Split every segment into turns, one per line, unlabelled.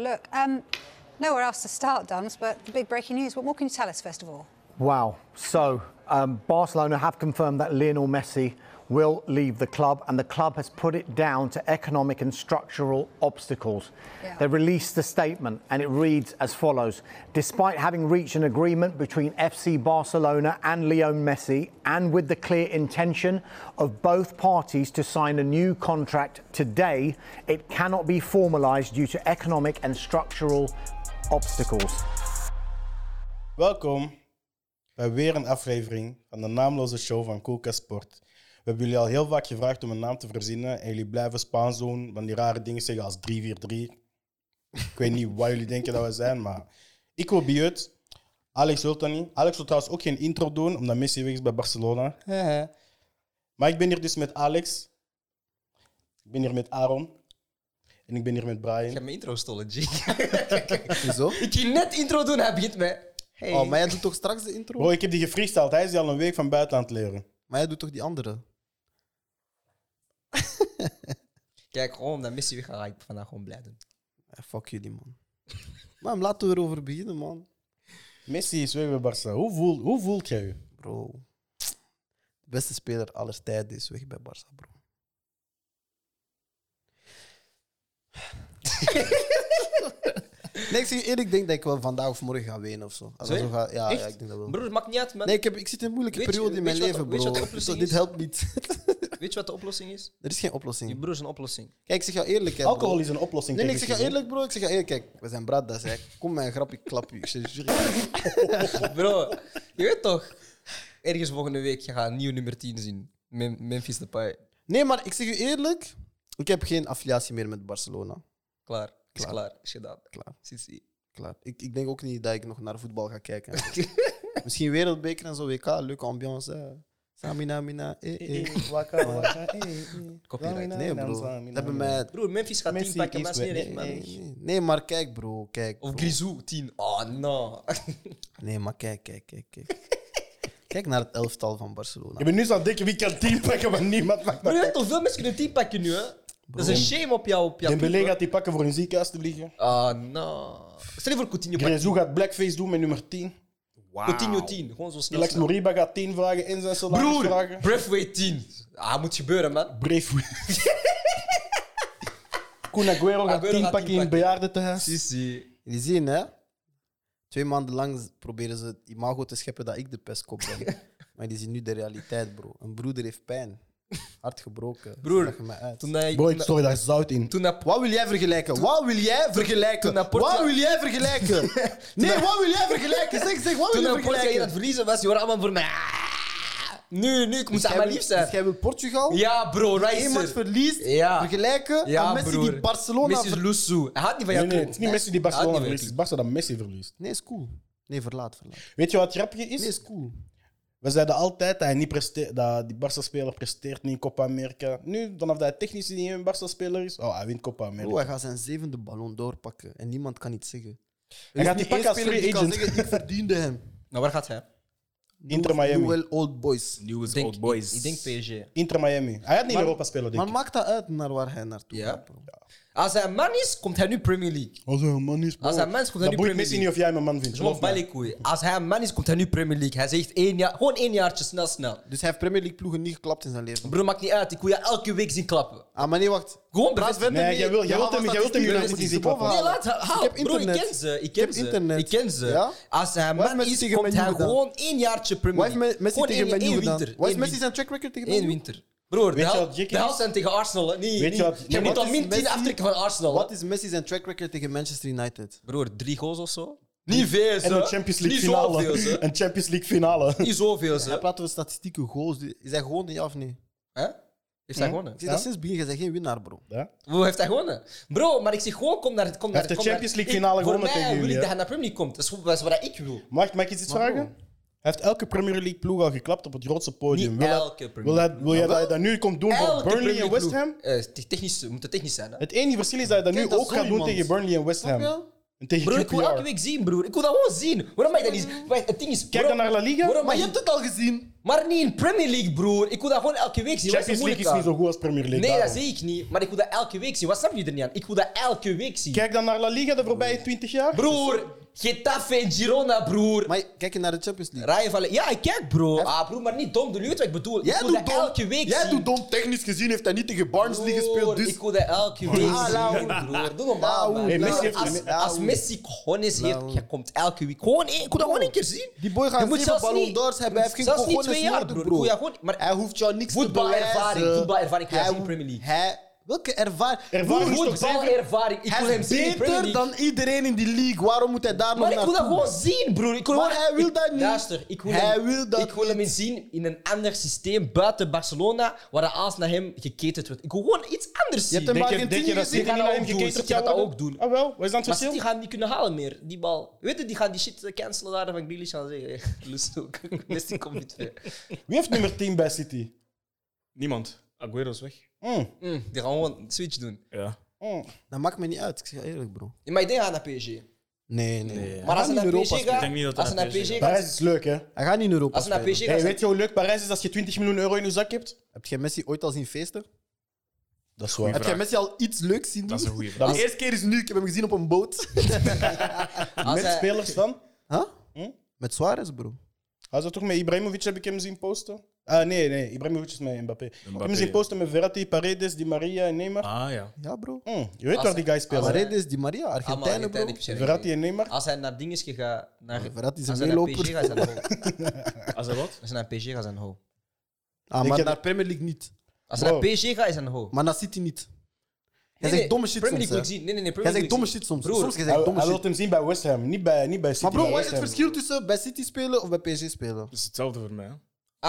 Look, um, nowhere else to start, Duns, but the big breaking news. What more can you tell us, first of all?
Wow. So, um, Barcelona have confirmed that Lionel Messi will leave the club, and the club has put it down to economic and structural obstacles.
Yeah.
They released a statement, and it reads as follows Despite having reached an agreement between FC Barcelona and Leon Messi, and with the clear intention of both parties to sign a new contract today, it cannot be formalised due to economic and structural obstacles.
Welkom bij weer een aflevering van de naamloze show van Koelkast Sport. We hebben jullie al heel vaak gevraagd om een naam te verzinnen en jullie blijven Spaans doen van die rare dingen zeggen als 343. Ik weet niet wat jullie denken dat we zijn, maar ik wil Biot. Alex wil dat niet. Alex wil trouwens ook geen intro doen, omdat Messi weg is bij Barcelona. maar ik ben hier dus met Alex. Ik ben hier met Aaron. En ik ben hier met
Ik
Brian.
heb mijn intro stolen, G.
Zo.
ik ging net intro doen, hij begint met... Hey.
Oh, maar jij doet toch straks de intro?
Bro, ik heb die gefreestyled. Hij is die al een week van buiten aan het leren.
Maar jij doet toch die andere?
Kijk, gewoon omdat Messi weg gaat, ga ik vandaag gewoon blij doen.
Eh, fuck jullie, man. Maar laten we erover beginnen, man.
Messi is weg bij Barca. Hoe, voel, hoe voelt jij je?
Bro. De beste speler aller tijden is weg bij Barça, bro. nee, ik zeg je eerlijk, ik denk dat ik wel vandaag of morgen ga wenen of zo. Als dat
Zo?
zo gaat- ja,
Echt?
ja, ik denk dat wel.
Broer, het maakt niet uit, man.
Nee, ik, heb, ik zit in een moeilijke
Weet je-
periode in
weet
mijn
je wat-
leven,
weet je
bro.
wat de oplossing
Zo, dit
is?
helpt niet.
Weet je wat de oplossing is?
er is geen
Je
oplossing.
broer is een oplossing.
Kijk, ik zeg jou eerlijk, hè, bro.
Alcohol is een oplossing.
Nee, nee, ik
tegen
zeg jou
schizof-
eerlijk, bro. Ik zeg jou eerlijk, kijk, we zijn bradas, hè. Kom met een grap, ik klap je. Ik zeg je-
Bro, je weet toch? Ergens volgende week je gaat een nieuw nummer 10 zien. Mem Memphis Depay.
Nee, maar ik zeg u eerlijk, ik heb geen affiliatie meer met Barcelona.
Klaar. Is klaar.
Klaar.
Is gedaan.
Klaar.
Sisi.
Klaar. Ik, ik denk ook niet dat ik nog naar voetbal ga kijken. Misschien wereldbeker en zo, WK, leuke ambiance. hè. Samina, mina, eh, eh.
Waka, waka, eh, eh.
Copyright.
Nee, bro. Dat hebben mij...
Broer, Memphis gaat
Messi
10 pakken,
is
maar is niet
weg.
echt,
Nee,
man.
nee, nee, maar kijk, bro. Kijk.
Of
bro.
Grisou, 10. Oh, no.
Nee, maar kijk, kijk, kijk, kijk. Kijk naar het elftal van Barcelona.
Je bent nu zo aan het denken wie kan team pakken, maar niemand mag
Broer,
dat.
je weet toch, veel mensen kunnen 10 pakken nu, hè? Dat is een shame op jou. Op jou
Dembélé gaat die pakken voor een ziekenhuis te liggen.
Ah, no. Stel je voor Coutinho. pak-
Grezou gaat blackface doen met nummer 10.
Coutinho 10. Gewoon zo snel.
Alex
snel.
Moriba gaat 10 vragen in zijn salaris
Broer,
vragen.
Breathway 10. Ah, moet gebeuren, man.
Brave. Kun Aguero gaat
Aguero
10
gaat
pakken
10
in bejaardentehuis.
Sissi.
Jullie zien, hè? Twee maanden lang proberen ze het imago te scheppen dat ik de pestkop ben. maar die zien nu de realiteit, bro. Een broeder heeft pijn. Hart gebroken.
Broer,
Leg me uit.
Toen hij...
Bro,
toen
ik
hij-
stoor daar zout in.
Toen hij...
Wat wil jij vergelijken? Wat wil jij vergelijken?
Toen Laporte-
Wat wil jij vergelijken? nee, wat wil jij vergelijken? Zeg, zeg, wat
Toen
wil
hij Portugal
jij
aan
vergelijken?
het verliezen was, die horen allemaal voor mij. "Ah." Nu, nu, ik moest
Dus
aan
jij
mijn
wil-
lief
Dus
zijn.
jij wil Portugal?
Ja, bro,
Iemand
Rice.
verliest,
Ja.
vergelijken
Ja,
aan mensen
broer.
die Barcelona...
Messi is
ver-
Lusso. Hij had niet van
Nee,
jou
nee,
club.
het is niet Messi die
Hij had
Barcelona
niet
verliest. Het is Barca dat Messi verliest.
Nee, is cool. Nee, verlaat, verlaat.
Weet je wat grappig is?
Nee, is cool.
We zeiden altijd dat, hij niet presteert, dat die Barca-speler presteert niet in Copa America. Nu, vanaf dat hij technisch niet een Barca-speler is, oh, hij wint Copa America.
Bro, hij gaat zijn zevende ballon doorpakken en niemand kan iets zeggen.
Hij gaat die pakken als free agent.
zeggen, ik verdiende hem.
Nou, waar gaat hij?
Inter Miami.
Newell Old Boys.
Nieuwe old boys. Ik, denk PSG.
Inter Miami. Hij gaat niet in
Maar-
Europa spelen, denk
Maar
ik.
maakt dat uit naar waar hij naartoe
Ja.
gaat, bro.
Als hij een man is, komt hij nu Premier League.
Als hij een man is,
Als hij een man is, komt hij
Oh, dat boeit
nu Premier
Messi
League.
niet of jij mijn man vindt.
Gewoon
geloof me.
balikoei. Als hij een man is, komt hij nu Premier League. Hij zegt één jaar, gewoon één jaartje, snel, snel.
Dus hij heeft Premier League ploegen niet geklapt in zijn leven.
Bro, maakt niet uit. Ik wil je elke week zien klappen.
Ah, maar nee, wacht.
Gewoon
Praat
bevestigen.
verder.
Nee, jij wil- jij wilt hem- jij wilt hem
niet
United zien klappen.
Nee, laat haar.
Ik
Hou.
heb
Bro, ik
internet.
ken ze. Ik ken
heb
ze.
internet.
Ik ken ze.
Ja?
Als hij een man
Wat heeft Messi
is,
tegen
komt
Man
hij
U gedaan?
gewoon één jaartje
Wat
Premier
heeft
League.
Me- Messi
Gewoon
tegen
één-
Menu
één
gedaan?
winter.
Wat is
Eén
Messi
winter.
zijn track record tegen
Eén
Man U?
winter. Broer, de
Weet je
hel-
wat gek
de
is?
helft zijn tegen Arsenal. hè.
Weet
Niet- niet-
je wat-
Je
wat
moet al
is
min 10
Messi-
aftrekken van Arsenal.
Wat
hè.
is Messi zijn track record tegen Manchester United?
Broer, drie goals of zo? Niet veel,
En
hè.
een Champions League
Niet
finale.
zoveel, hè.
Een Champions League finale.
Niet zoveel, hè.
Hij praat over statistieken, goals. die- Is hij gewoon niet of nee?
Hè? Heeft Hm? hij gewonnen?
Ik zeg dat sinds het begin, jij bent geen winnaar, bro.
Ja?
Hoe heeft hij gewonnen? Bro, maar ik zeg gewoon, kom naar het... Kom
Hij
naar
heeft de
kom
Champions
naar-
League finale
Ik- voor
gewonnen
mij
tegen
wil
jullie,
ik
hè.
dat hij naar Premier League komt. Dat is, dat is wat ik wil.
Mag, mag ik iets vragen? Hij heeft elke Premier League ploeg al geklapt op het grootste podium.
Niet
wil hij-
elke Premier
wil hij- wil jij dat hij dat nu komt doen voor
Elke
Burnley en
Premier
West
ploeg.
Ham?
Eh, het is technisch, het moet technisch zijn, hè.
Het enige verschil is dat hij dat
Kijk,
nu
dat
ook
is
gaat
zo
doen
iemand.
tegen Burnley en West
Snap
Ham.
je?
En tegen
Broer, ik wil
QPR.
elke week zien, broer. Ik wil dat gewoon zien. Waarom mag je dat niet zien? Wacht, Het ding is...
Mm. Kijk
waarom-
dan naar La Liga.
waarom mag
het al gezien.
Maar niet in Premier League, broer. Ik wil dat gewoon elke week zien. Wat
Champions
moeilijk
League is
aan?
niet zo goed als Premier League.
Nee, dat
daarom.
zie ik niet. Maar ik wil dat elke week zien. Wat snap je er niet aan? Ik wil dat elke week zien.
Kijk dan naar La Liga de voorbije 20 jaar.
Broer, Getafe en Girona, broer.
Maar kijk je naar de Champions League.
Ryan van... Le- Ja, ik kijk, bro. Ah, broer, maar niet dom. doen. Je weet wat ik bedoel. ik wil dat elke week zien.
dom. Technisch gezien heeft hij niet tegen Barnes dus
Broer, Ik wil dat elke week
Ah, Lauw.
zien, broer. Doe normaal, man.
Hey, Messi heeft-
als, als Messi cojones heeft, je komt elke week. Gewoon één, ik wil dat gewoon één keer zien.
Die boy
Je
gaat
moet
zeven
zelfs
ballon
niet-
d'ors hebben. Hij heeft geen
zelfs niet
cojones
twee jaar,
nodig,
broer.
bro.
Ik wil dat gewoon- maar-
Hij hoeft jou niks
Voetbalervaring,
te bewijzen.
voetbalervaring krijg je
Hij-
in Premier League.
Hij, welke ervaring?
Ervaring is toch zeven-
Voetbalervaring. Ik wil
Hij
hem
is
zien in Premier League.
beter dan iedereen in die league. Waarom moet hij daar nog
Maar ik wil dat
naartoe?
gewoon zien, broer. Ik wil
Maar
gewoon-
hij wil
ik-
dat niet.
Luister, ik wil
Hij
hem,
wil dat
ik wil hem zien in een ander systeem buiten Barcelona, waar de aas naar hem geketend wordt. Ik wil gewoon iets anders
Je
zien.
hebt hem
Denk je,
Argentinië
denk je dat
gezien,
City
die
niet
gaan
naar
dat
hem
ook doen.
gekeken
City dus gaat dat
worden?
ook doen.
Ah wel, wat is dan het
Maar City
verschil?
gaan niet kunnen halen meer, die bal. Weet je, die gaan die shit cancelen daar van Grealish gaan zeggen. Lust ook. Messi komt niet weer.
Wie heeft nummer 10 bij City?
Niemand. Aguero is weg.
Mm,
Mm, die gaan gewoon een switch doen.
Ja.
mm.
Dat Nou, maakt me niet uit. Ik zeg je eerlijk, bro.
Ja, Maar ik denk aan naar PSG.
Nee, nee.
Maar als
hij
ze naar
Europa
PSG
spelen.
denk niet
gaat,
dat
als ze
hij
naar
dus naar
PSG
PSG
gaat,
Parijs is leuk, hè?
Hij gaat niet in Europa
als ze naar
spelen.
PSG
Hey,
gaat,
weet je hoe leuk Parijs is als je 20 miljoen euro in je zak hebt?
Heb jij Messi ooit al zien feesten?
Dat is waar.
Heb
Vraag.
jij Messi al iets leuks zien doen?
Dat is een goeie
De
vraag.
eerste keer is nu. Ik heb hem gezien op een boot.
als
Met
hij-
spelers dan?
huh?
Hm?
Met Suarez, bro.
Hij zat toch met Ibrahimovic, heb ik hem zien posten? Ah, nee, nee, Ibrahimovic is met Mbappé. Ik heb hem zien posten met Verratti, Paredes, Di Maria en Neymar.
Ah ja.
Ja, bro.
Mm, je weet
Als
waar
hij-
die guys
als
spelen.
hij-
Paredes, Di Maria,
Allemaal
Argentijnen, bro.
Argentijnen, ik zeg
Verratti
het.
en Neymar.
Als hij naar dingetjes gaat, naar,
Verratti is
als
een
hij naar PSG
meeloper.
gaat, is hij naar Ho.
Als hij wat?
Als hij naar PSG gaat, is hij naar Ho.
Ah,
Ik
maar
heb-
naar Premier League niet.
Als hij naar
Bro.
PSG gaat, is hij naar Ho.
Maar naar City niet.
Nee,
Jij zegt
nee,
domme shit
Premier League
soms, hè.
wil ik zien. Nee, nee, nee.
Jij
Premier
zegt domme
League
shit soms.
Broer,
Soms jij
Hij,
zegt domme
hij wil
shit.
hem zien bij West Ham, niet bij, niet bij City.
Maar bro,
bij
wat is
West
het
Ham.
verschil tussen bij City spelen of bij PSG spelen?
Dat is hetzelfde voor mij. hè.
wil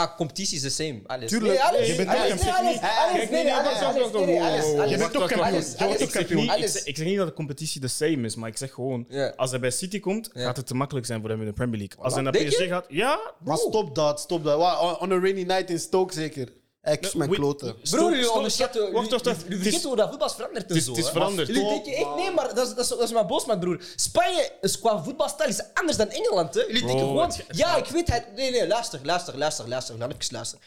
ik- Ah, competitie is the same. Alles.
Tuurlijk.
Nee, alles.
Je bent
alles,
ook een
nee, alles,
techniek.
alles, nee,
Kijk, nee,
nee,
nee,
alles,
nee,
alles,
alles,
nee, nee,
wow,
alles,
wow, wow.
alles.
Je bent ook kampioen.
alles,
Je wordt
alles,
ook
Ik,
kampioen.
niet, ik,
Alles.
zeg- ik zeg niet dat de competitie de same is, maar ik zeg gewoon,
Ja.
als hij bij City komt, gaat het te makkelijk zijn voor hem in de Premier League. Als hij naar
Denk
PSG
je?
gaat, ja.
Maar stop dat, stop dat. Wauw, on- on a rainy night in Stoke zeker. Ik kus mijn
Wait,
kloten.
stop,
Broer, jullie
stop,
onderschatten...
stop. Wacht, wacht, wacht.
Jullie
Het is-
vergeten hoe dat voetbal is veranderd en
is-
zo.
het is
hè.
veranderd.
Jullie denken echt... Nee, maar dat is, dat is, dat is maar boos, man, broer. Spanje is qua voetbalstijl is anders dan Engeland, hè. Jullie denken gewoon...
het-
Ja, ik weet het... Nee, nee, luister, luister, luister, luister. Laat me even luisteren.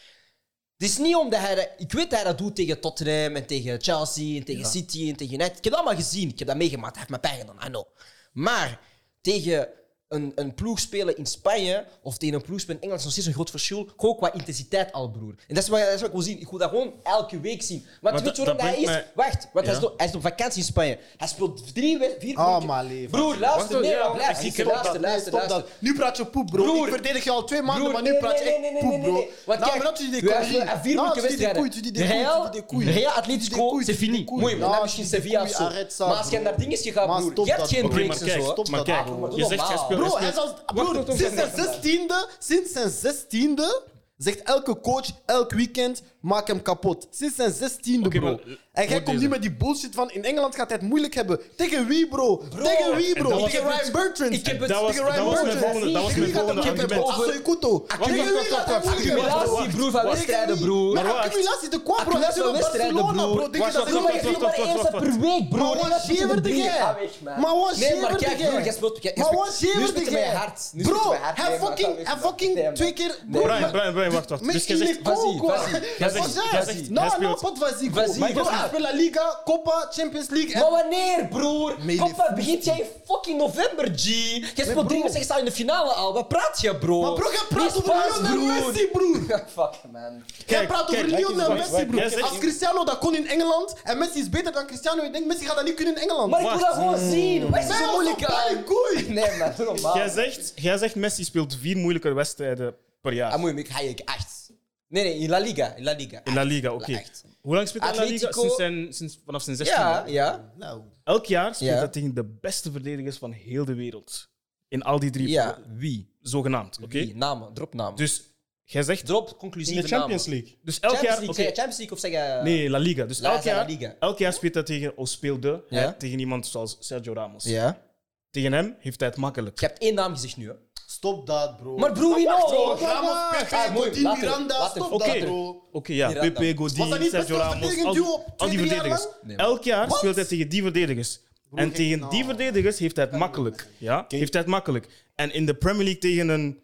Het is niet omdat hij... dat- Ik weet dat hij dat doet tegen Tottenham en tegen Chelsea en tegen City en tegen United. Ik heb dat allemaal gezien. Ik heb dat meegemaakt. Hij heeft me pijn gedaan. I know. Maar tegen een, een ploeg spelen in Spanje of tegen een ploeg spelen in Engeland is nog steeds een groot verschil. Gewoon qua intensiteit al, broer. En dat is wat, dat is wat ik wil zien. Ik wil dat gewoon elke week zien. Want
Maar
weet je
dat-
waarom hij
dat
is?
brengt
Wacht, want hij,
Ja.
is op, hij is op vakantie in Spanje. Hij speelt drie, we- vier
Oh,
weken-
maar lief.
Broer, luister,
Wacht,
nee,
ja,
maar
ik-
luister,
ik heb
luister, luister, luister,
Stop dat. Nu praat je poep, bro.
Broer.
ik verdedig je al twee maanden,
Broer,
maar nu
nee,
praat je
nee,
echt
nee, nee,
poep,
nee,
bro.
nee, nee. Want
nou,
kijk,
maar dat is die
we hebben
koeien.
aan vier
Nou,
moeilijke
tu dis des
wedstrijden.
couilles, tu dis des
Real,
couilles, tu dis des
Real,
couilles. Tu dis des
Atletico,
couilles,
c'est
tu dis des
fini.
couilles.
Mooi, maar
Nou,
dan
tu
misschien
dis des
Sevilla
couilles,
zo.
arrête ça,
Maar als je
bro.
naar dingetjes gaat,
Maar
broer,
stop
je hebt
dat,
geen
bro.
Oké,
breaks
maar
en zo.
kijk,
hè.
stop, maar
dat,
kijk.
bro.
Doe
Je zegt,
normaal.
hij speelt...
Bro,
hij
hij
speelt-
zal, bro sinds zijn zestiende, sinds zijn zestiende zegt elke coach elk weekend maak hem kapot. Sinds zijn zestiende,
Oké,
bro.
maar, eh,
en jij
hoor
komt
deze.
niet met die bullshit van in Engeland gaat hij het moeilijk hebben. Tegen wie, bro? Tegen wie,
en dat
bro?
was-
Tegen Ryan Bertrand.
Ik heb het-
Dat was,
tegen
dat
Ryan
was mijn
Bertrand.
volgende, dat was
Tegen
mijn
wie gaat
volgende
hem kippen?
argument.
Asso Ikuto. Tegen wie gaat hij het moeilijk hebben?
Accumulatie, broer, van wedstrijden, broer.
Maar
Maar wacht.
accumulatie te kwam, Ah, bro. Hij
Accumulatie
is
van
in
wedstrijden,
Barcelona,
broer.
bro. Denk je
Wacht,
dat
wacht,
hij
Broer, maar je
wacht,
doet maar
wacht,
eens
wacht,
per week, bro.
Maar wat zeverde jij? Maar
Nee,
wat
maar
zeverde
kijk,
jij?
broer, jij speelt... jij-
Maar
jij
wat
speelt- nu
zeer
speelt
tegen
hij bij hart. Nu speelt
Bro,
bij hart.
hij
Nee, maar
fucking,
dat
hij
is- nee,
fucking
maar-
twee keer...
Nee,
Bro,
Brian, Brian, Brian, wacht, wacht.
Mais
Dus jij
il est
zegt...
Vas-y,
con, quoi.
vas-y,
Vas-y,
vas-y, vas-y,
Non,
vas-y,
non,
vas-y.
pas de vas-y, gros.
Vas-y,
Bro,
vas-y.
hij speelt La Liga, Copa, Champions League.
Maar
en-
wanneer, broer?
Maar jullie-
Copa begint jij in fucking november, G. Jij
broer.
speelt drie wedstrijden, je staat in de finale al. Wat praat je, bro?
Maar bro, jij praat
Niet
over
Spaans,
Lionel
broer.
Messi, broer.
Fuck, man.
Jij praat over
kijk,
Lionel
kijk eens,
Messi,
jij
broer.
zegt-
Als Cristiano dat kon in Engeland en Messi is beter dan Cristiano, ik denk Messi gaat dat niet kunnen in Engeland.
Maar ik wil dat
Wacht.
gewoon zien. Wat is
Zij
zo
was
moeilijk
op
aan?
alle koei.
Nee, man, doe normaal.
Jij zegt, jij zegt Messi speelt vier moeilijke wedstrijden per
Ah,
jaar.
mooi, ik ga je echt. Nee, nee, in La Liga. In La Liga.
In La Liga, oké.
Echt.
Hoe lang speelt hij in La Liga?
Atletico-
Sinds zijn, sinds, vanaf zijn 16
Ja, ja.
Nou,
Elk jaar speelt
Ja.
hij tegen de beste verdedigers van heel de wereld. In al die drie
Ja.
Wie? Zogenaamd, oké?
Wie? Namen, drop namen.
Dus jij zegt...
Drop
In de
conclusieve
Champions
namen.
League.
Dus elk
Champions
jaar...
League,
oké.
zeg je Champions League of zeg je...
Nee, La Liga. Dus
La-
elk,
La
jaar,
Liga.
elk jaar speelt hij tegen, of speelde
Ja.
hij tegen iemand zoals Sergio Ramos.
Ja.
Tegen hem heeft hij het makkelijk.
Je hebt één naam gezegd nu, hè.
stop dat, bro.
Maar broer, wie nou?
Ramos, Pepe,
Ah, mooi.
Godin,
Laat hem.
Miranda,
Laat hem.
stop
Oké,
dat,
oké,
bro.
ja.
Miranda.
Pepe,
Was dat
Godin,
niet best
Sergio
wel
Ramos.
verdedigend
Al,
duo op
al
twee,
die
drie jaar
verdedigers.
lang?
Nee, man.
Elk jaar
Wat?
speelt hij tegen die verdedigers. En tegen die verdedigers heeft hij het makkelijk. Ja? Heeft hij het makkelijk. En in de Premier League tegen een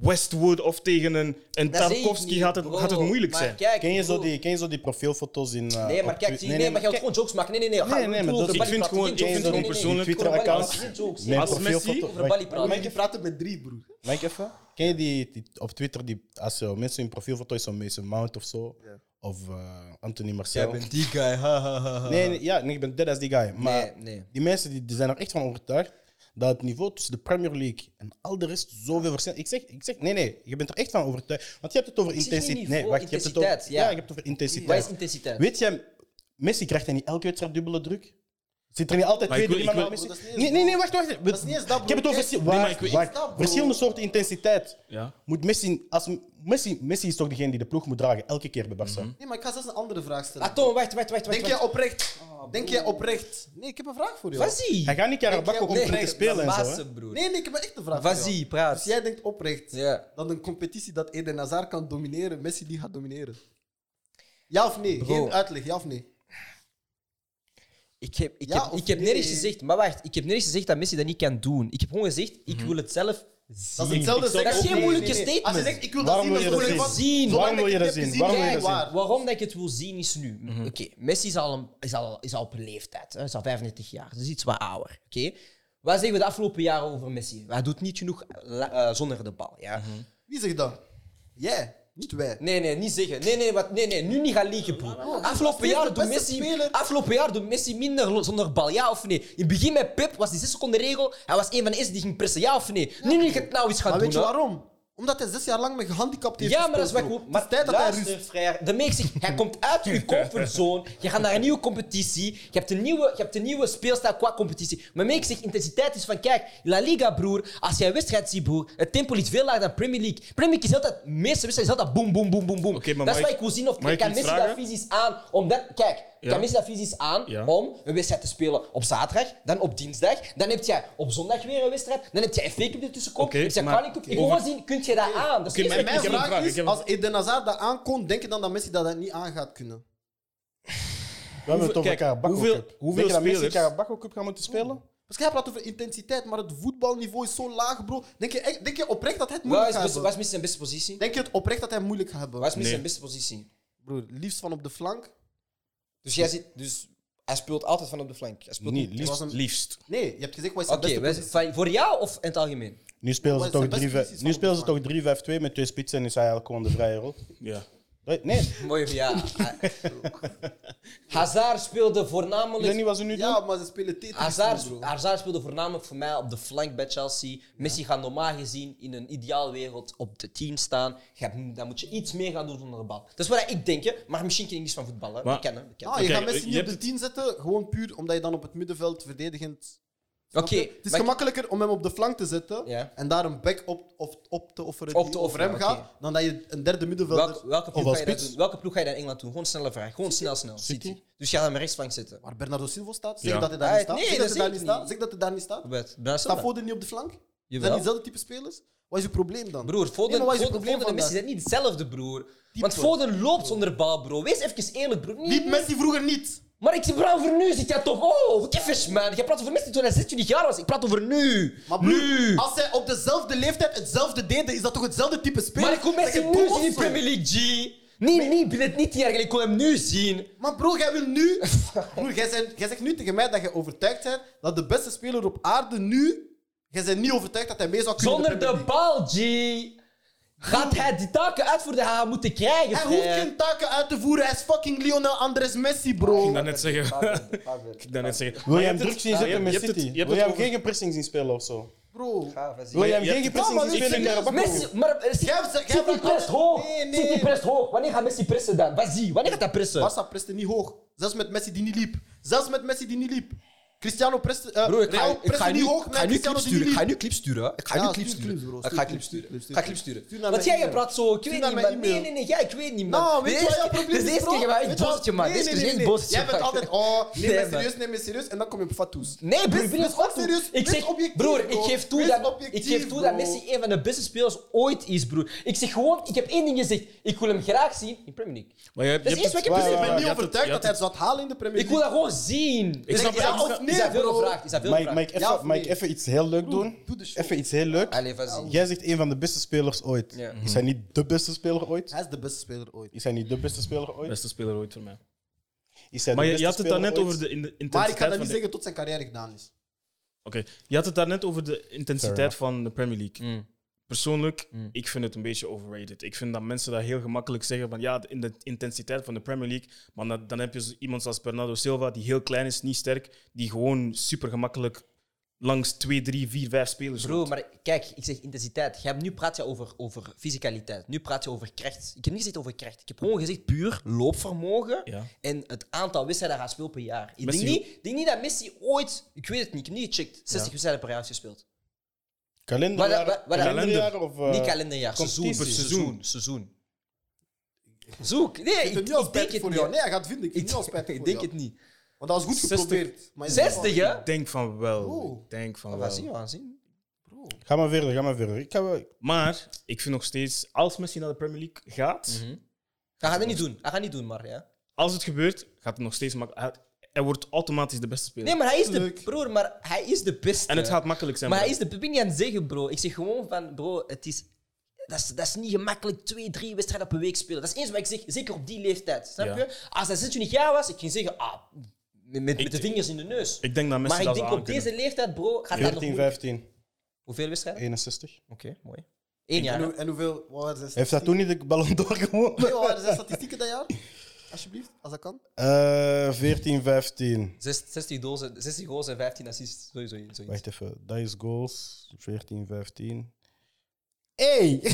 Westwood of tegen een, een
Dat zie ik
Tarkovsky
niet,
gaat het,
bro.
gaat het moeilijk
Maar
zijn.
Kijk,
Ken je, zo
bro.
die, ken je zo die profielfoto's in. eh,
Nee, maar
op
kijk,
Twi-
zie, nee, maar je wilt
kijk,
gewoon jokes maken. Nee, nee, nee.
nee, maar dat- ik vind
gewoon,
ik vind gewoon persoonlijk- Twitter-accounts- Nee,
Als
profielfoto.
Messi-
Wacht,
Over een balie praten.
je praten met drie, broer.
Mag ik even? Ken je die, die- op Twitter, die, als je mensen hun profielfoto is van Mason Mount of zo? Of eh, Anthony Marcel?
die guy, ha, ha, ha, ha.
Nee, nee, ja, nee, ik ben dead als die guy. Maar
Nee, nee.
die mensen die, die zijn er echt van overtuigd dat het niveau tussen de Premier League en al de rest zoveel verschil ik zeg, ik zeg, nee, nee, je bent er echt van overtuigd. Want je hebt het over
Ik zeg geen
intensiteit. Nee,
niveau,
wacht, je hebt het over,
intensiteit, ja.
ja, je hebt het over
Wat is
intensiteit.
intensiteit?
Weet je, Messi krijgt hij niet elke wedstrijd dubbele druk? Zit er niet altijd
Maar
twee,
ik
drie
wil-
man
ik
aan
wil-
Messi?
Oh, dat is niet eens
Nee, nee, nee, wacht, wacht.
Dat is niet eens dat,
Ik heb het
broer.
over
Kijk,
wacht,
nee, maar ik wil-
wacht.
dat, bro.
verschillende soorten intensiteit.
Ja.
Moet Messi, als, Messi, Messi is toch degene die de ploeg moet dragen, elke keer bij
Mhm.
Barca.
Nee, maar ik ga zelfs een andere vraag stellen.
Atom, wacht, wacht, wacht.
Denk
wacht,
jij
wacht.
oprecht? Denk jij oprecht? Nee, ik heb een vraag voor jou.
Vazie.
Hij gaat niet Karabakh om
Nee,
te spelen en zo. hè.
Nee, nee, ik heb echt een vraag voor jou.
Vazie,
Dus
Als
praat.
jij denkt oprecht
Ja.
dat een competitie dat Eden Hazard kan domineren, Messi die gaat domineren. Ja of nee?
Bro.
Geen uitleg, ja of nee?
Ik heb, ik
Ja
heb,
of
ik heb nergens
nee?
gezegd, maar wacht, ik heb nergens gezegd dat Messi dat niet kan doen. Ik heb gewoon gezegd, ik
Mhm.
wil het zelf zien.
Dat is hetzelfde
Dat is
zeggen-
geen moeilijke
Als je
statement.
zegt, ik wil dat
Waarom
zien,
wil
dan
je
voel
dat
ik
zien?
van-
Zien.
Zolang
Waarom wil je
ik het
dat zien?
niet heb gezien,
Waarom wil je
jij
dat zien? Mhm.
waar.
Waarom dat ik het wil zien is nu. Oké, Messi is al, een- is, al, is al op een leeftijd. Hij is al 35 jaar. Dus iets wat ouder. Oké? Wat zeggen we de afgelopen jaren over Messi? Hij doet niet genoeg la- eh, zonder de bal. Ja?
Mhm.
Wie zegt dat? Jij, niet wij.
Nee, nee, niet zeggen. Nee, nee, wat, nee, nee nu niet gaan liegen, broer. Afgelopen
is de
jaar, doet
beste
Messi,
speler.
afgelopen jaar doet Messi minder lo- zonder bal, ja of nee? In het begin met Pep was die 6 seconden regel. Hij was een van de eerste die ging pressen, ja of nee? nu niet het nou eens gaan
Maar
doen.
weet je
hè.
waarom? Omdat hij zes jaar lang met gehandicapt heeft
Ja, maar dat is
gespeeld,
wat ik hoop.
bro. Het
Maar
is tijd dat hij
luister,
rust.
frère. De mix zegt, hij komt uit je comfortzone. Je gaat naar een nieuwe competitie. Je hebt een nieuwe, je hebt een nieuwe speelstijl qua competitie. Maar mix zegt, intensiteit is van, kijk, La Liga, broer. Als jij een wedstrijd ziet, broer, het tempo is veel lager dan Premier League. Premier League is altijd, de meeste wedstrijden is altijd boom, boom, boom, boom, boom.
Oké, maar
dat is wat
mag
ik
ik-
wil zien. Of
mag ik
kan
iets
Messi dat
vragen?
fysisch aan, omdat, kijk, kan Messi dat fysisch aan
Ja.
om een wedstrijd te spelen op zaterdag, dan op dinsdag, dan heb je op zondag weer een wedstrijd, dan heb je FA Cup ertussen komt,
Oké,
dan heb je
maar-
Carling Cup. Ik wil gewoon zien, kun je dat aan? Dat is
Oké,
niet
maar
zo-
ik
Mijn
heb een
vraag
vraag,
is,
ik heb een-
als Eden Hazard dat aankomt, denk je dan dat Messi dat, dat niet aan gaat kunnen?
We hebben het over
kijk,
Carabao
hoeveel-
Cup. Denk
hoeveel
je dat Messi
spelers-
Carabao Cup gaan moeten spelen?
Misschien hij praat over intensiteit, maar het voetbalniveau is zo laag, bro. Denk je, echt- denk je oprecht dat hij het
Waar
moeilijk
is, best-
gaat hebben?
waar is Messi zijn beste positie?
Denk je het oprecht dat hij het moeilijk gaat hebben?
Waar is Messi
Nee.
zijn beste positie?
Broer, liefst van op de flank?
Dus jij zit, dus hij speelt altijd van op de flank. Hij speelt
Nee,
niet.
liefst.
was een-
Liefst.
Nee, je hebt gezegd wat is
Oké,
zijn beste
wij-
positie.
van- voor jou of in het algemeen?
Nu spelen
Wat
ze
is de
toch
beste
drie-
positie van
nu spelen ze
Open
toch 3-5-2 met twee spitsen en is hij eigenlijk gewoon de vrije rol.
Ja.
Nee, Nee, ik
Mooi, ja. Hazard speelde voornamelijk.
weet niet wat ze nu doen.
Ja, maar ze spelen Tetris.
Hazard, Ah,
bro.
Hazard speelde voornamelijk voor mij op de flank bij Chelsea. Messi gaat normaal gezien in een ideaal wereld op de 10 staan. Ga- Dan moet je iets meer gaan doen zonder de bal. Dat is wat ik denk, hè. maar misschien ken ik niets van voetballen.
Maar-
Ik ken hem. ik ken
Ah,
hem.
je
Oké,
gaat
eh,
Messi
je
niet op
hebt
de 10
het-
zetten, gewoon puur omdat je dan op het middenveld verdedigend...
Oké,
Snap je? Het is
maar ik-
gemakkelijker om hem op de flank te zetten
Ja.
en daar een back op, op, op te offeren
Op
die
te
over hem
offeren,
gaat, dan dat je een derde middenvelder...
Welke, dus welke, ploeg
wel
ga je dat
spits.
doen? welke ploeg ga je dan in Engeland doen? Gewoon een snelle vraag. Gewoon snel, snel. City. Dus je gaat hem rechtsvang zitten.
Waar Bernardo Silva staat, zeg
Ja.
dat hij daar
Ah,
niet staat.
nee,
zeg
dat
dat hij
zeg
daar
ik
niet
niet.
staat. Zeg dat hij daar niet staat.
Robert, Bernard
Staat
Silva.
Foden niet op de flank? Zijn
Jawel.
die dezelfde type spelers? Wat is je probleem dan?
Broer, Foden,
Nee, maar wat is je
Foden,
probleem
Foden en Messi
vandaag?
zijn niet hetzelfde, broer.
Type.
Want Foden loopt zonder bal, bro. Wees even eerlijk, broer. Nee,
Liep
nee.
Messi vroeger niet.
Maar ik praat over nu, zit jij toch? Oh, wat even, man. Jij praat over Messi toen hij 26 jaar was. Ik praat over nu.
Maar broer,
nu.
als zij op dezelfde leeftijd hetzelfde deden, is dat toch hetzelfde type speler?
Maar ik wil
Dat
Messi
je
nu
dom
zien in
of zo?
Premier League, G. Nee, nee, ik ben het niet hier. Ik wil hem nu zien.
Maar bro, jij wil nu... Broer, jij, zijn- jij zegt nu tegen mij dat je overtuigd bent dat de beste speler op aarde nu... Jij bent niet overtuigd dat hij mee zou kunnen...
Zonder
in Premier
de bal, G. Gaat hij die taken uitvoeren die hij gaat moeten krijgen?
League. Hij
vriend?
hoeft geen taken uit te voeren. Hij is fucking Lionel Andres Messi, bro.
Ik dan net zeggen. Ik dan net zeggen.
Wil
Maar
je hem
hebt
druk
het-
zien
je
zitten
hebt-
met
je hebt het-
City?
je hebt
Wil je
het
hem
over-
geen pressing zien spelen of zo?
Bro.
Wil je hem
je hebt
geen
het-
pressing
Ja,
zien
maar
spelen in
serieus,
Carabao Cup?
Messi, maar eh, City,
Jij hebt ze- jij
City
hebt ze-
prest hoog.
Nee, nee.
City prest hoog. Wanneer gaat Messi pressen dan? Wat zie? Wanneer gaat hij pressen?
Barça preste niet hoog. Zelfs met Messi die niet liep. Zelfs met Messi die niet liep. Cristiano preste, eh, Real preste niet hoog, maar Cristiano die niet liep.
nu clips sturen. hè. Ik ga
Ja, stuur clips, bro. Stuur clips, clips,
Ik
stuur
ga
clips.
clips sturen.
Stuur naar
Want jij
mijn e-mail.
praat zo. Ik weet
naar
niet,
mijn
man. Nee,
e-mail.
nee, nee. jij, Ik weet niet, man.
Nou, weet je wat jouw probleem
Dit
is,
is de eerste
bro?
keer waar ik
Weet je
boos
wat-
op je maak.
Nee,
Dit is
nee, nee,
geen
nee.
boos op je
Jij bent
maak.
altijd, oh, neem
Nee,
me
man.
serieus, neem me serieus. En dan kom je op fatsoes.
Nee, broer,
Wees-
ik ben
wees
ook
ook serieus.
Ik
Wees
zeg,
objectief,
broer, ik
bro.
geef toe,
Wees
dat,
objectief,
ik geef toe dat
bro.
Messi een van de beste spelers ooit is, broer. Ik zeg gewoon, ik heb één ding gezegd. Ik wil hem graag zien in Premier League.
Maar je hebt,
Dat
je
is iets
hebt
wat Dus ik heb
het-
Ik
gezegd.
ben
ja, je
niet
hebt het-
overtuigd
je
dat
hebt
hij het zou halen in de Premier
Ik wil
League.
dat gewoon zien.
Ik snap
ja
het-
of nee,
Is dat veel gevraagd? Is dat veel
Mag ik-
gevraagd?
mag ik
Ja of
even- mag ik
nee?
even iets heel leuk doen?
doe de show.
Even iets heel leuk.
Allee, van zien.
Jij zegt een van de beste spelers ooit.
Ja.
Is hij niet de beste speler ooit?
Hij is de beste speler ooit.
Is hij niet de beste speler ooit?
Beste speler ooit voor mij.
Is hij de
Maar je,
beste
je had het
speler
daarnet
ooit?
over de in- de intensiteit
Maar ik kan dat
van
niet
de-
zeggen tot zijn carrière gedaan is.
Oké, je had het daarnet over de
Fair
intensiteit
enough.
van de Premier League.
Mm.
Persoonlijk,
Mm.
ik vind het een beetje overrated. Ik vind dat mensen dat heel gemakkelijk zeggen van ja, de, in de intensiteit van de Premier League. Maar dan, dan heb je zo iemand zoals Bernardo Silva, die heel klein is, niet sterk, die gewoon super gemakkelijk langs 2, 3, 4, 5 spelers
Bro,
loopt.
maar kijk, ik zeg intensiteit. Jij hebt, nu praat je over, over fysicaliteit. Nu praat je over kracht. Ik heb niet gezegd over kracht. Ik heb gewoon gezegd puur loopvermogen
Ja.
en het aantal wedstrijden dat hij speelt per jaar. Ik denk
Messi-
niet, denk niet dat Messi ooit, ik weet het niet, ik heb niet gecheckt, 60 wedstrijden per jaar heeft gespeeld.
Kalenderjaar?
Wat- wat- wat-
kalenderjaar of... eh,
niet kalenderjaar, seizoen,
competitie.
seizoen, seizoen. Zoek. Nee,
Ik
ik,
vind het
ik,
niet als
denk
spijtig
het
voor jou.
niet.
Nee, hij gaat vinden. Ik vind het
Ik,
niet als spijtig
ik
voor
denk
jou.
het niet.
Want dat is goed
60.
geprobeerd. maar-
60, hè?
Ik denk van wel.
Oeh.
Ik denk van
We
wel.
gaan zien, we gaan zien.
Ga maar verder, ga maar verder. Ik eh, ga wel...
Maar ik vind nog steeds, als Messi naar de Premier League gaat,
Mhm.
Hij gaat het niet doen, hij gaat niet doen, maar ja.
als het gebeurt, gaat het nog steeds makkelijk. Hij wordt automatisch de beste speler.
Nee, maar hij is de,
Leuk.
broer, maar hij is de beste.
En het gaat makkelijk zijn.
Maar hij
bro.
is de ik ben niet aan het zeggen, bro. Ik zeg gewoon van, bro, het is, dat, is, dat is niet gemakkelijk twee, drie wedstrijden per week spelen. Dat is eens wat ik zeg, zeker op die leeftijd. Snap
Ja.
je? Als hij 26 jaar was, ik ging zeggen, ah, met, met de vingers in de neus.
Ik denk dat Messi
maar ik
dat
denk
zou
op
aankunnen.
deze leeftijd, bro, gaat dat nog
14,
moeilijk.
15,
Hoeveel wedstrijden?
61.
Oké, mooi. Eén jaar.
En,
hè?
hoe- en hoeveel... Wat waren zijn
Heeft dat toen niet de Ballon d'Or gewonnen?
Nee, wat waren zijn statistieken dat jaar? Alsjeblieft, als dat kan.
Eh 14, 15.
Zes- 60 dozen, 60 goals en 15 assists. Sowieso, sowieso.
Wacht even. Dat is goals. 14, 15.
Dat is,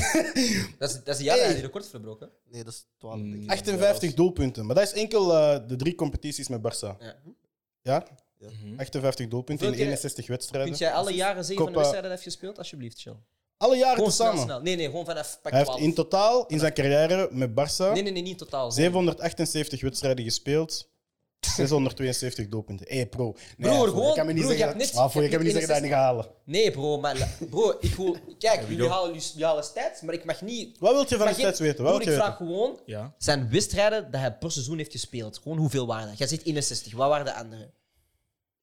dat is een jaar dat hij die record verbroken.
Nee, dat is 12.
Mm.
denk ik.
58 doelpunten. Maar dat is enkel eh, de drie competities met Barça.
Ja.
Ja? 58 doelpunten in
Hoeveel keer-
61
Kun
wedstrijden.
jij alle jaren zeggen van de
Copa-
wedstrijden dat hij heeft gespeeld? Alsjeblieft, chill.
Alle jaren
Gewoon snel,
tezamen.
snel. Nee, nee, gewoon vanaf pak
Hij heeft
12.
in totaal in zijn carrière met Barça
Nee, nee, nee, niet in totaal.
778 wedstrijden gespeeld. 672 doelpunten. Hé, hey, pro. Nee,
Broer,
Afro,
gewoon-
Je kan me niet
broer, je
zeggen,
hebt net-
Afro, je
je
kan me niet
hebt
zeggen dat hij niet gaat halen.
Nee, bro, maar la- bro, ik wil. Kijk, jullie halen, jullie- jullie halen stats, maar ik mag niet.
Wat wil je van
mag
de stats
geen-
weten? Wat
broer,
wil je
ik
weten?
vraag gewoon:
Ja.
zijn wedstrijden dat hij per seizoen heeft gespeeld? Gewoon hoeveel waren dat? Jij zegt 61, wat waren de anderen?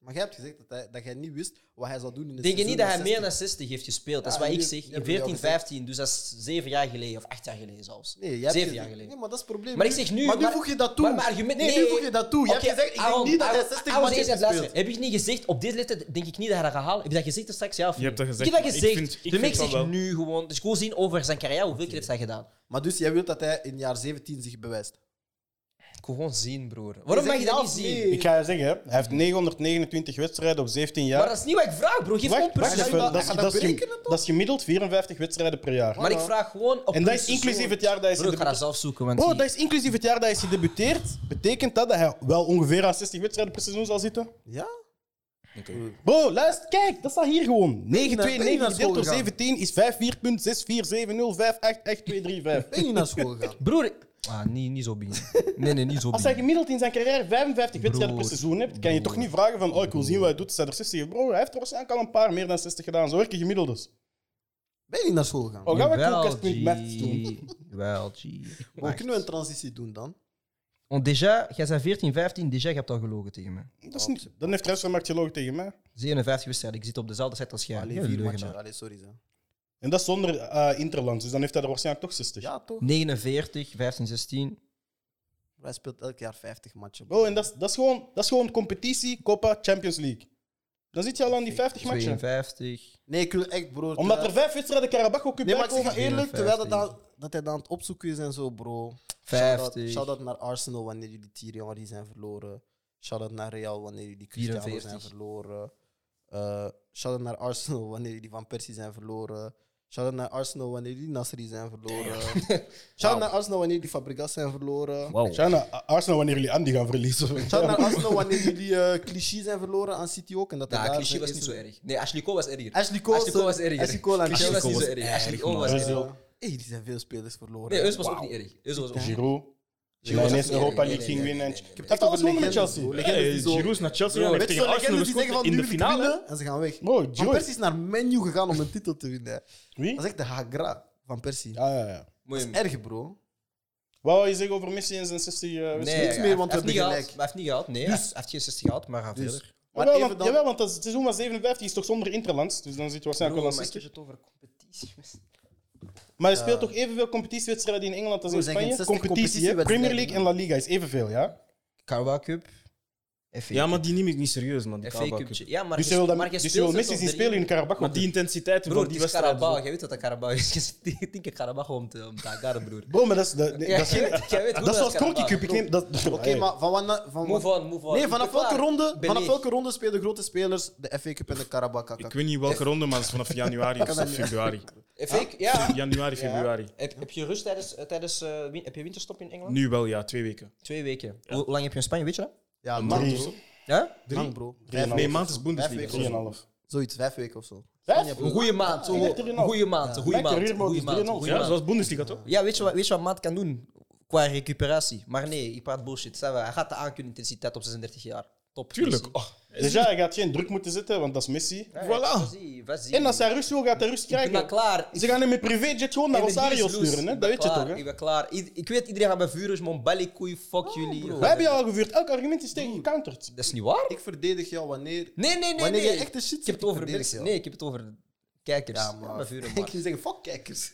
Maar jij hebt gezegd dat, hij, dat jij niet wist wat hij zou doen in de
Denk je niet dat hij meer dan 60 heeft gespeeld? Dat is
Ja,
wat ik
nu-
zeg.
nu
In
heb je al
14,
gezegd.
15, dus dat is 7 jaar geleden of 8 jaar geleden zelfs.
Nee, jij hebt
7
gezegd-
jaar geleden.
Nee, maar dat is het probleem.
Maar ik zeg nu.
Maar nu voeg je dat toe.
Maar mijn argument,
Nee,
nee,
nu voeg je dat toe. Je hebt
Oké,
gezegd, ik denk
Aaron,
niet dat hij
Aaron,
60
Aaron,
minuten
eerst
heeft
luisteren.
gespeeld.
Heb ik niet gezegd, op deze leeftijd denk ik niet dat hij dat gaat halen? Heb je dat gezegd er straks, ja of
Je hebt dat gezegd,
Ik heb dat
maar ik
gezegd.
vind-
de
ik vind
mix
van
zegt
wel.
nu gewoon. Dus gewoon zien over zijn carrière, hoeveel keer heeft hij gedaan?
Maar dus jij wilt dat hij in jaar 17 zich bewijst.
Ik wil gewoon zien, broer. Waarom mag je dat niet zien?
Ik ga je zeggen, hè, hij heeft 929 wedstrijden op 17 jaar.
Maar dat is niet wat ik vraag, bro. Geef gewoon
Wacht, wacht
precies.
even, dat, is-
Ga je dat
dat is gem-
berekenen, toch?
dat is gemiddeld 54 wedstrijden per jaar.
Maar ik vraag gewoon. Op
en dat is
seizoen.
inclusief het jaar dat hij is
Bro, ik ga dat
gedebuteerd.
zelf zoeken. Want
Oh,
die-
dat is inclusief het jaar dat hij is gedebuteerd. Betekent dat dat hij wel ongeveer aan 60 wedstrijden per seizoen zal zitten?
Ja?
Bro, luister, kijk, dat staat hier gewoon.
ben je
929
eh, naar
gedeeld door
school
17 is 54.6470588235.
Ben je naar school gegaan?
Broer. Ah, niet, niet zo binnen. Nee, nee, niet zo
Als hij
binnen.
gemiddeld in zijn carrière 55 wedstrijden per
Broer,
seizoen hebt, kan je toch niet vragen van, oh, ik wil zien wat hij doet, zijn er 60. Bro, hij heeft er waarschijnlijk al een paar meer dan 60 gedaan. Zo werken gemiddeldes.
Ben je naar school gegaan?
dus. Oh, gaan we koelkast.met doen?
Wel, G.
Hoe kunnen we een transitie doen dan?
Want déjà, jij bent 14, 15, déjà, je hebt al gelogen tegen me.
Dat is niet, dan heeft Transfermarkt gelogen tegen mij.
57 wedstrijden, ik zit op dezelfde set als jij.
Alleen
Heel
vier
leugenaar.
matchen. Allee, sorry. Zo.
En dat zonder eh Interland, dus dan heeft hij er waarschijnlijk toch 60.
Ja, toch?
49, 15, 16.
Hij speelt elk jaar 50 matchen.
Bro, en dat is, dat, is gewoon, dat is gewoon competitie, Copa, Champions League. Dan zit je al aan die 50 matchen.
52.
Nee, ik wil echt, bro.
Omdat er
terwijl-
vijf wedstrijden Carabao Cup
Nee,
bij
maar ik
komen.
zeg je eerlijk, terwijl dat,
54.
aan- dat hij dan aan het opzoeken is en zo, bro.
50.
Shout-out naar Arsenal wanneer jullie Thierry Henry zijn verloren. Shout-out naar Real wanneer jullie Cristiano
44.
zijn verloren. Eh Shout-out naar Arsenal wanneer jullie Van Persie zijn verloren. Shout-out naar Arsenal wanneer jullie Nasri zijn verloren. Shout-out naar Arsenal wanneer jullie Fabregas zijn verloren.
Wow.
Sjana, Arsenal wanneer jullie Andy gaan verliezen.
Shout-out naar Arsenal nou wanneer jullie eh Clichy zijn verloren aan City ook. En dat hij
Ja,
daar
cliché
zijn
was niet
eerste-
zo erg. Nee, Ashley Cole was erger.
Ashley Cole,
Ashley Cole was erger.
Ashley Cole en
Ashley
Chelsea.
was niet zo erg. Ashley Cole was erg.
Brazil,
Hé, die zijn veel spelers verloren.
Nee, Eus was ook niet erg. Eus was ook niet erg.
Giroud. Die
was
ineens
echt- nee,
Europa
nee,
League
nee,
ging
nee,
winnen.
nee, nee,
Hij
nee.
Ik
heeft
heb het
alles
echt over
gewonnen met
legendes,
Chelsea. Eh,
bro. Legendes die zo-
Giroud is naar Chelsea
Bro,
gegaan,
weet
heeft
je
tegen
wat
Arsenal
legendes die zeggen
gescoord
van
in
nu
de
moeten we
finale.
winnen En ze gaan weg.
Bro,
Van
Joey.
Persie is naar menu gegaan om een titel te winnen.
Wie?
Dat is echt de Hagra van Persie.
Ah, ja, ja.
Mooi.
Dat is erg, bro.
Wat wou je zeggen over Messi en zijn 60 eh, wedstrijden?
niks
hij
meer, want we
heeft
hebben
niet gehaald.
gelijk.
Maar hij heeft niet gehaald, nee. Hij heeft geen 60 gehaald, maar hij gaat
Dus
verder.
Maar
Jawel,
even
want,
dan...
jawel, want dat seizoen van 57 is toch zonder interlands, dus dan zit je
Broer,
waarschijnlijk wel
maar
aan
ik heb
60.
het over competitie.
Maar er speelt toch evenveel competitiewedstrijden in Engeland als in
Broer, zijn
Spanje?
geen 60
Competitie, hè? Premier League en La Liga is evenveel, ja?
Carwa Cup. FA
Ja, maar die neem ik niet serieus, man. Die
FA
Carabao
Cup.
Cup.
Ja, maar
Dus je
je-
wil, dan,
maar je
dus je wil
speelt ze
Messi
toch
zien
drie-
spelen in Carabao.
Maar die intensiteit
Broer,
van die
die is
wedstrijd.
Carabao. Jij weet wat dat Carabao is. Je zit tegen tien keer Carabao om te om te agarren, broer.
Bro, maar dat is... de- nee,
Ja,
dat is,
jij weet- jij weet hoe
dat is
dat
zoals
Carabao
Conti Cup. Ik neem dat... Oké,
Oké, maar van wanneer... Van,
Move on, move on.
Nee,
Ik
vanaf
ben
welke,
klaar.
ronde,
Ben
vanaf
leeg.
welke ronde spelen grote spelers de FA Cup en de Carabao Cup?
Ik weet niet welke ronde, maar het is vanaf januari of zo, februari.
FA Eh,
Ah,
Ja.
Januari, februari.
Heb, heb je rust tijdens, eh, tijdens eh, win- heb je winterstop in Engeland?
Nu wel, ja, twee weken.
Twee weken. Hoe lang heb je in Spanje, weet je dat?
Ja, lang
Drie.
bro.
Ja?
Lang bro.
Drieënhalf.
Nee, maand is
Vijf
Bundesliga.
weken.
Zo.
3,5.
Zoiets, vijf weken of zo.
Vijf?
Een goede maand. Zo,
ik dacht
een
3,5.
goede maand. Een goede
Lekker,
maand.
hier
Een
mogen
goede
ze
maand. een
3,5.
goede
Ja,
maand.
zoals Bundesliga toch?
Ja, weet je, wat, weet je wat maat kan doen? Qua recuperatie. Maar nee, ik praat bullshit. Zeg maar, Hij gaat de aankunintensiteit op 36 jaar. Top.
Tuurlijk.
Messi.
Oh,
Dus ja, hij gaat geen druk moeten zetten, want dat is Messi.
Ja,
Voilà.
vas-y, vas-y.
Oh, En als hij rust wil, gaat hij rust
Ik ben
krijgen.
klaar. Ik-
Ze gaan hem in privéjet gewoon naar
energie
Rosario
is loose.
sturen, hè? Dat
Ik ben
weet je
klaar,
toch, hè?
Ik ben klaar. Ied- ik weet, iedereen gaat bij vuren, man. Balikoei, fuck jullie.
We hebben jou al gevuurd. Elk argument is tegen gecounterd.
Dat is niet waar?
Ik verdedig jou wanneer...
Nee, nee, nee.
Wanneer
nee.
je echte shit
Ik heb het
ziet,
over
verdedig
mensen.
je.
Nee, ik heb het over kijkers.
Ja,
Ja,
man.
bij vuren,
Ik
man.
ging zeggen, fuck kijkers.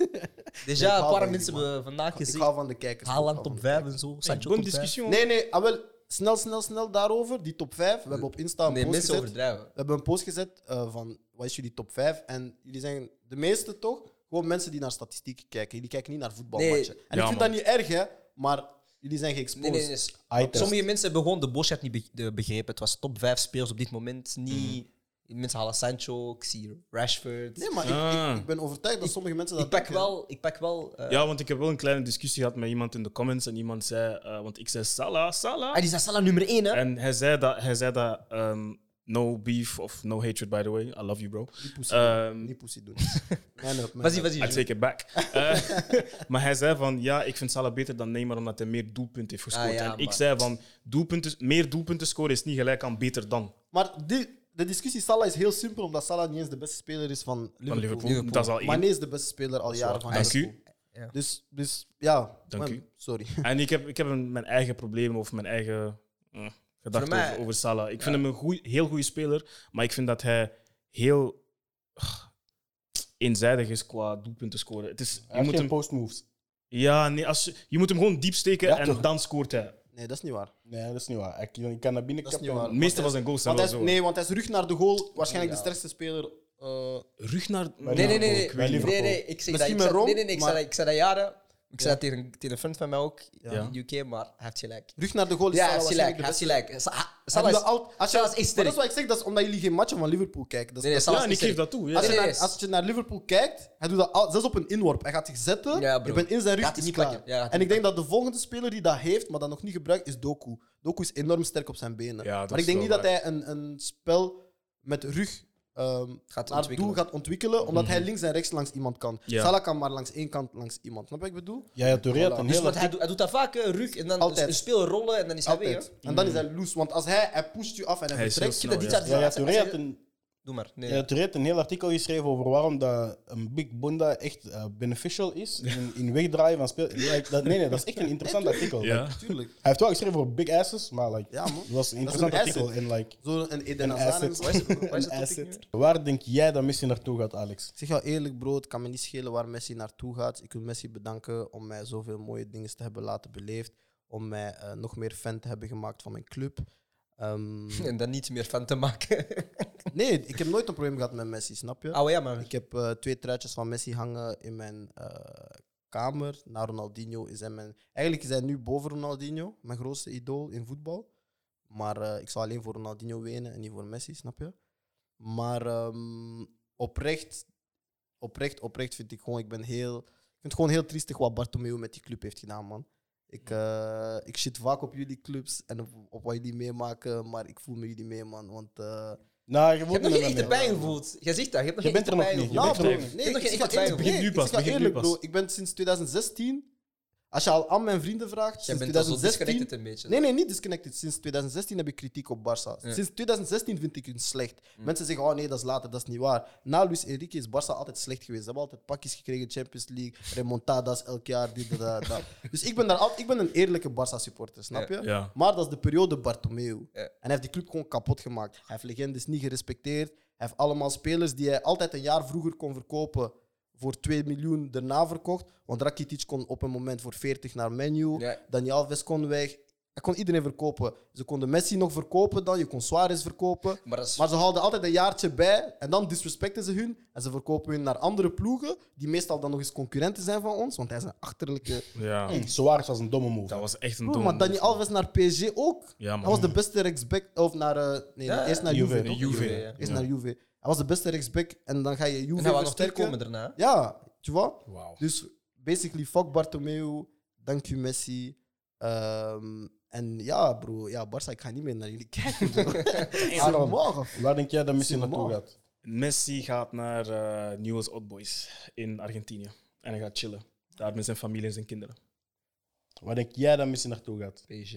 Déjà,
hou
een
van
paar
jullie,
mensen
man.
hebben vandaag
ik
gezien.
hou van de kijkers.
Haaland
Ik hou
top
van de
5 en zo. Sancho
Bonne
top 5.
discussie, man.
Nee, nee, ah, wel, snel, snel, snel daarover. Die top 5. We hebben op Insta een
Nee,
post
mensen
gezet. We
overdrijven.
hebben een post gezet eh, van wat is jullie top 5? En jullie zeggen, de meeste toch, gewoon mensen die naar statistieken kijken. Jullie kijken niet naar voetbalmatchen.
Nee.
En
Ja,
ik vind
man.
dat niet erg, hè, maar jullie zijn geëxposed.
Nee, nee, nee.
Eye-test.
Sommige mensen hebben gewoon de boodschap niet be- de- begrepen. Het was top 5 spelers op dit moment. Niet. Mensen halen Sancho, ik zie Rashford.
Mhm. Nee, maar ik- ik,
Ah.
ik, ben overtuigd dat sommige mensen dat eh,
ik, pak
denken.
wel, ik pak wel. eh,
Ja, want ik heb wel een kleine discussie gehad met iemand in de comments. En iemand zei, eh, want ik zei Salah, Salah.
Ah, die is Salah nummer 1, hè?
En hij zei dat, hij zei dat ehm, no beef of no hatred, by the way. I love you, bro.
Poesie doen.
Ehm
Niet poesie doen. Man up, man
Was-ie,
up.
was-ie,
I take it back. Eh, maar hij zei van, ja, ik vind Salah beter dan Neymar omdat hij meer doelpunten heeft gescoord.
Ah, ja,
en ik
maar-
zei van, doelpunten, meer doelpunten scoren is niet gelijk aan beter dan
Maar die, de discussie Salah is heel simpel, omdat Salah niet eens de beste speler is van Liverpool.
van Liverpool. Dat is al één.
Mané is de beste speler al jaren van
Dank u.
Liverpool. Dus, dus ja.
Dank
man,
u.
Sorry.
En ik heb, ik heb een- mijn eigen problemen of mijn eigen eh, gedachten
Voor mij-
over, over Salah. Ik vind hem een goeie, heel goede speler, maar ik vind dat hij heel ah, eenzijdig is qua doelpunten scoren. Het is,
Hij
je,
heeft
moet
geen
hem,
postmoves.
ja, nee, als, je- je moet hem gewoon diep steken
Ja,
en
toch.
dan scoort hij.
Nee, dat is niet waar.
Nee, dat is niet waar. Ik, ik kan naar binnen
Dat is niet
kappen.
waar.
De meeste van zijn goals zijn
Want
wel
hij is,
zo.
nee, want hij is rug naar de goal. Waarschijnlijk de sterkste speler. eh,
Rug naar...
Nee, nee, nee. nee.
Ik weet niet.
nee, nee, ik zeg
Misschien
dat, ik
ben
zei-
wrong,
nee, nee, nee, ik, zei
maar-
dat, ik zei dat jaren. Ik zei dat tegen, een- tegen een vriend van mij ook
Ja.
in de UK, maar hij heeft gelijk.
rug naar de goal is
Ja, hij
Salah
heeft
waarschijnlijk
gelijk. Hij heeft
de beste.
gelijk. Sa- Salah
Hij doet
is-
dat al- als je-
Salah is
Maar dat
sterk.
is wat ik zeg, dat is omdat jullie geen matchen van Liverpool kijken. Dat is-
Nee, nee,
dat-
Salah
Ja, en
is
ik geef
sterk.
dat toe. Ja.
als, je
nee, nee,
naar,
nee.
als je naar Liverpool kijkt, hij doet dat al, zelfs op een inworp. Hij gaat zich zetten,
Ja, bro.
je bent in zijn rug,
Gaat hij
is
niet
klaar.
pakken. Ja, gaat hij
en
niet
ik denk dat de volgende speler die dat heeft, maar dat nog niet gebruikt, is Doku. Doku is enorm sterk op zijn benen.
Ja, dat
maar
is
ik denk
wel
niet dat hij een, een spel met rug ehm
Gaat
naar het doel
ontwikkelen.
gaat ontwikkelen, omdat hij links en rechts langs iemand kan.
Mhm. Ja.
Salah kan maar langs één kant langs iemand. Snap je wat ik bedoel?
Ja, ja, Touré had
Voilà.
een
Dus
hele...
wat hij, doet, hij doet dat vaak, hè, rug en dan
Altijd.
een speel rollen en dan is hij weer.
Altijd.
hè.
En dan is hij loose, want als hij, hij pusht je af en hij,
Mhm. Hij is
vertrekt.
heel
Dat
snel,
dit
ja.
jaar-
Ja, ja, Touré had een...
Doe maar. Nee.
Ja, Touré heeft een heel artikel geschreven over waarom dat een Big Bunda echt eh, beneficial is in, in wegdraaien van speel. Like, dat, nee, nee, dat is echt een interessant artikel.
Ja.
Like,
Tuurlijk.
hij heeft wel geschreven over big asses, maar like,
Ja, man.
het was een
Dat is
interessant
een
artikel.
asset.
En like,
Zo'n Eden
Een
Hazard. en
asset.
zo.
Waar is het, waar is
een
het topic nu?
asset. Waar denk jij dat Messi naartoe gaat, Alex?
Ik zeg jou eerlijk, bro, het kan me niet schelen waar Messi naartoe gaat. Ik wil Messi bedanken om mij zoveel mooie dingen te hebben laten beleefd. Om mij eh, nog meer fan te hebben gemaakt van mijn club. Ehm,
En dan niet meer van te maken.
nee, ik heb nooit een probleem gehad met Messi, snap je?
Oh ja, maar
Ik heb eh, twee truitjes van Messi hangen in mijn eh, kamer. Na Ronaldinho is hij mijn... Eigenlijk is hij nu boven Ronaldinho, mijn grootste idool in voetbal. Maar eh, ik zal alleen voor Ronaldinho wenen en niet voor Messi, snap je? Maar ehm, oprecht, oprecht, oprecht vind ik gewoon... Ik ben heel... Ik vind het gewoon heel triestig wat Bartomeu met die club heeft gedaan, man. Ik, eh, ik shit vaak op jullie clubs en op, op wat jullie meemaken, maar ik voel me jullie mee, man. Want... eh,
Nou, je,
je
moet
hebt nog
niet
geen
met
echte
mij
pijn gevoeld. Jij zegt dat. Je hebt nog
Je
geen
bent er nog
echte pijn
niet, je
gevoeld.
bent er nog
niet.
Nee,
Ik heb
ik,
nog geen
ik, ga
echte
eerlijk,
twijfel.
nee,
Begin nu
ik
pas,
ga
begin nu
eerlijk
pas.
bro. Ik ben sinds 2016 Als je al aan mijn vrienden vraagt,
Jij
sinds
bent al zo
2016
disconnected een beetje.
Nee, nee, niet disconnected. Sinds 2016 heb ik kritiek op Barça. Sinds 2016 vind ik hun slecht.
Mm.
Mensen zeggen, oh nee, dat is later, dat is niet waar. Na Luis Enrique is Barça altijd slecht geweest. Ze hebben altijd pakjes gekregen, Champions League, remontadas elk jaar, dit, dat, dat, dat. Dus ik ben, daar al, ik ben een eerlijke Barça-supporter, snap je?
Ja.
Maar dat is de periode Bartomeu.
Ja.
En hij heeft die club gewoon kapot gemaakt. Hij heeft legendes niet gerespecteerd. Hij heeft allemaal spelers die hij altijd een jaar vroeger kon verkopen voor 2 miljoen daarna verkocht. Want Rakitic kon op een moment voor 40 naar menu.
Ja.
Dani Alves kon weg. Hij kon iedereen verkopen. Ze konden Messi nog verkopen dan. Je kon Suarez verkopen.
Maar dat is-
Maar ze houden altijd een jaartje bij. En dan disrespecten ze hun. En ze verkopen hun naar andere ploegen. Die meestal dan nog eens concurrenten zijn van ons. Want hij is een achterlijke...
Ja,
Suarez was een domme move.
dat was echt een
Bro,
dom.
maar Dani Alves naar PSG ook.
Ja, man.
hij was de beste rechtsback. Of naar... eh, nee,
Ja,
eerst naar
Juve.
Juve.
De
toch?
Juve.
Ja, ja.
Eerst naar Juve. Hij was de beste rechtsback. En dan ga je Juve
En hij wou nog
versterken.
terugkomen daarna.
Ja, tu vois?
Wauw.
Dus basically, fuck Bartomeu, dank u Messi. Ehm, en ja, bro, ja, Barça, ik ga niet meer naar jullie kijken. bro.
Aaron,
Morgen.
Waar denk jij dat Messi naartoe
Simon.
gaat?
Messi gaat naar eh Newell's Old Boys in Argentinië. En hij gaat chillen. Daar met zijn familie en zijn kinderen.
Waar denk jij dat Messi naartoe gaat?
PSG.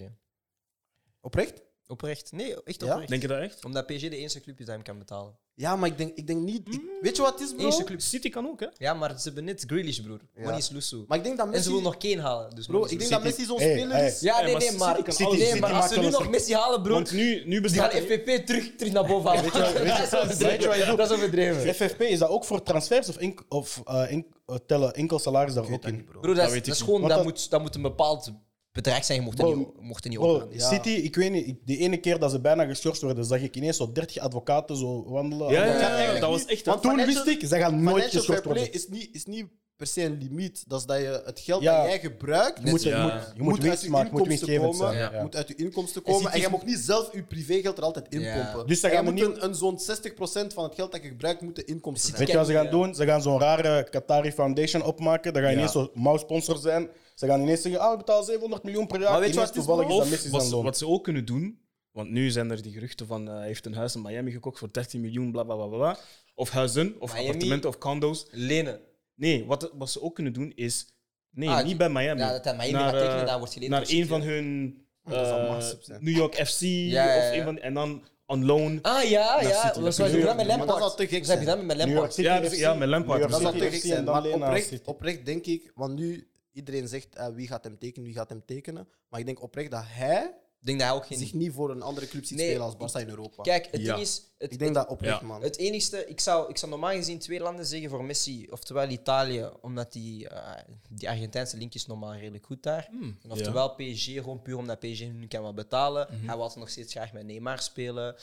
Oprecht?
Oprecht. Nee, echt
Ja?
oprecht.
Denk je dat echt?
Omdat PSG de enige club is die hem kan betalen.
Ja, maar ik denk, ik denk niet. ik- weet je wat het is, bro?
Eerste Mm. club.
City kan ook, hè?
Ja, maar ze hebben net Grealish, broer.
Ja.
Money is Lusso.
Maar ik denk dat
En ze wil
Messi.
nog Kane halen. Dus
bro,
money
ik
is
denk
Lusso.
dat Messi zo'n
Hey,
speler dus-
hey.
is.
Ja,
Hey,
nee,
maar
nee,
City
maar,
kan
alles-
nee,
City
maar
maakt
als ze nu
alles
nog
op.
Messi halen, broer,
Want nu, nu
die gaan
bestaat...
FPP terug, terug naar boven halen. dat, is overdreven. dat is overdreven.
FFP, is dat ook voor transfers of, enk- of eh, enk- eh, tellen enkel salaris daar ook in?
Broer, dat, is-
weet
dat is
ik
gewoon,
niet.
dat,
Want
moet, dat moet een bepaald bedrag zijn, je mocht er
Bro,
niet, mocht er niet
Bro,
over gaan.
City, ik weet niet, ik- de ene keer dat ze bijna geschorst werden, zag ik ineens zo 30 advocaten zo wandelen.
Ja, ja,
Advocaten.
ja, ja, dat was echt... hè.
Want
Toen
Financial-
wist ik, ze gaan nooit
Financial fair
geschorst
play
worden.
is niet, is niet per se een limiet. Dat is dat je het geld
Ja.
dat jij gebruikt.
Je moet, je
Ja.
moet, je moet winst maken, je moet winstgevend
komen.
zijn.
Ja.
Ja.
moet uit je inkomsten komen. En,
City-
je mag niet zelf je privégeld er altijd in
Ja.
pompen.
Dus ze
En je
gaan
moet
opnieuw-
een, een zo'n 60% van het geld dat je gebruikt, moet de inkomsten zijn.
Weet je wat ze gaan doen? Ze gaan zo'n rare Qatari Foundation opmaken. Dan gaan ineens zo'n mouwsponsor zijn. Ze gaan ineens zeggen, ah, we betalen 700 miljoen per jaar.
Maar weet je
Ineens
wat het is,
toevallig
bro?
is dat
Of
Messi
wat,
zijn
ze-
loon.
wat ze ook kunnen doen, want nu zijn er die geruchten van eh, hij heeft een huis in Miami gekocht voor 13 miljoen, bla bla bla bla, bla. Of huizen, of
Miami?
appartementen, of condo's.
Lenen.
Nee, wat, wat ze ook kunnen doen is. Nee,
Ah,
niet bij Miami.
ja, dat hij Miami
Naar,
gaat tekenen,
eh,
daar wordt geleend
Naar
door City,
een van
hè?
hun.
Oh, dat zou
eh,
massive zijn.
New York FC.
Ja, ja,
Of
ja.
een van, en dan on loan.
Ah ja,
Naar
ja.
City.
Dat zou je
New York-
gedaan met
maar dat
Lampard.
zou te
Dat
gek
heb je
zijn.
gedaan
New
met
York
Lampard.
City
Ja,
FC.
dus- ja, met Lampard.
New York
Dat zou
City
te gek
FC en
zijn.
dan
Maar
alleen naar
oprecht,
City.
oprecht denk ik, want nu iedereen zegt eh, wie gaat hem tekenen, wie gaat hem tekenen. Maar ik denk oprecht dat hij
Ik denk dat hij ook geen...
zich niet voor een andere club ziet
Nee,
spelen als
ik-
Barça in Europa.
Kijk, het
Ja.
ding is... Het,
ik denk dat oprecht,
Ja.
man.
Het enigste, ik zou, ik zou normaal gezien twee landen zeggen voor Messi, oftewel Italië, omdat die, eh, die Argentijnse link is normaal redelijk goed daar. en oftewel PSG, gewoon puur omdat PSG nu kan wat betalen. Hij wil nog steeds graag met Neymar spelen.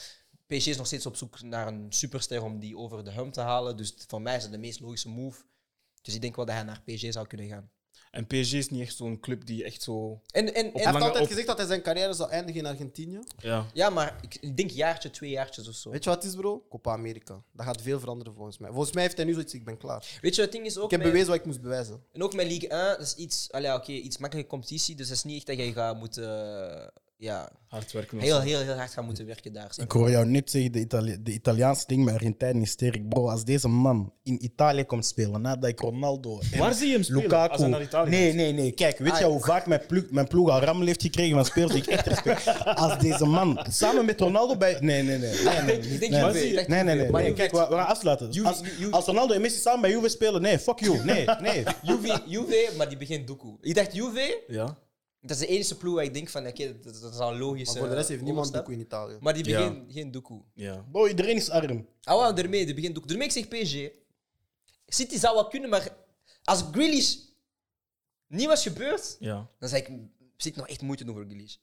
PSG is nog steeds op zoek naar een superster om die over de hum te halen. Dus voor mij is dat de meest logische move. Dus ik denk wel dat hij naar PSG zou kunnen gaan.
En PSG is niet echt zo'n club die echt zo.
En, en, en,
Hij heeft
lange
altijd
op-
gezegd dat hij zijn carrière zou eindigen in Argentinië.
Ja.
ja, maar ik, ik denk jaartje, twee jaartjes of zo.
Weet je wat het is, bro? Copa America. Dat gaat veel veranderen volgens mij. Volgens mij heeft hij nu zoiets, ik ben klaar.
Weet je, het ding is ook...
Ik heb
met-
bewezen wat ik moest bewijzen.
En ook met Ligue 1, dat is iets, allee, oké, iets makkelijke competitie. Dus dat is niet echt dat je gaat moeten. eh, ja,
Hard werken. of
heel,
zo.
heel, heel hard gaan moeten werken daar.
Ik hoor jou net zeggen, de, Itali de Italiaanse ding met Argentijn is sterk. Bro, als deze man in Italië komt spelen, nadat ik Ronaldo en
Waar zie je hem spelen?
Lukaku...
Als hij naar Italië
nee,
gaat. Ah.
nee, nee. Kijk, weet je hoe vaak mijn, ploeg mijn ploeg al rammel heeft gekregen van spelers die ik echt respect... Als deze man samen met Ronaldo bij... Nee, nee, nee. nee, nee,
Ik denk
nee,
Juve,
nee,
ik denk
nee, nee,
Juve.
nee,
Maar
nee.
Juve-
Kijk, we we gaan afsluiten.
Juve-
Als,
Juve-
als Ronaldo en Messi samen bij Juve spelen, nee, fuck you. Nee, nee.
Juve, Juve, maar die begint Doku. Ik dacht Juve,
Ja.
dat is de enige ploeg waar ik denk van, oké, dat, dat is al logisch.
Maar voor de rest heeft
Eh,
niemand doek in Italië.
Maar die
Ja.
begint geen Doku.
ja.
Bro, iedereen is arm.
Ah, wel, daarmee, die begint Doku. Daarmee ik zeg PSG. City zou wel kunnen, maar als Grealish niet was gebeurd,
Ja.
dan zou ik zit nog echt moeite doen voor Grealish.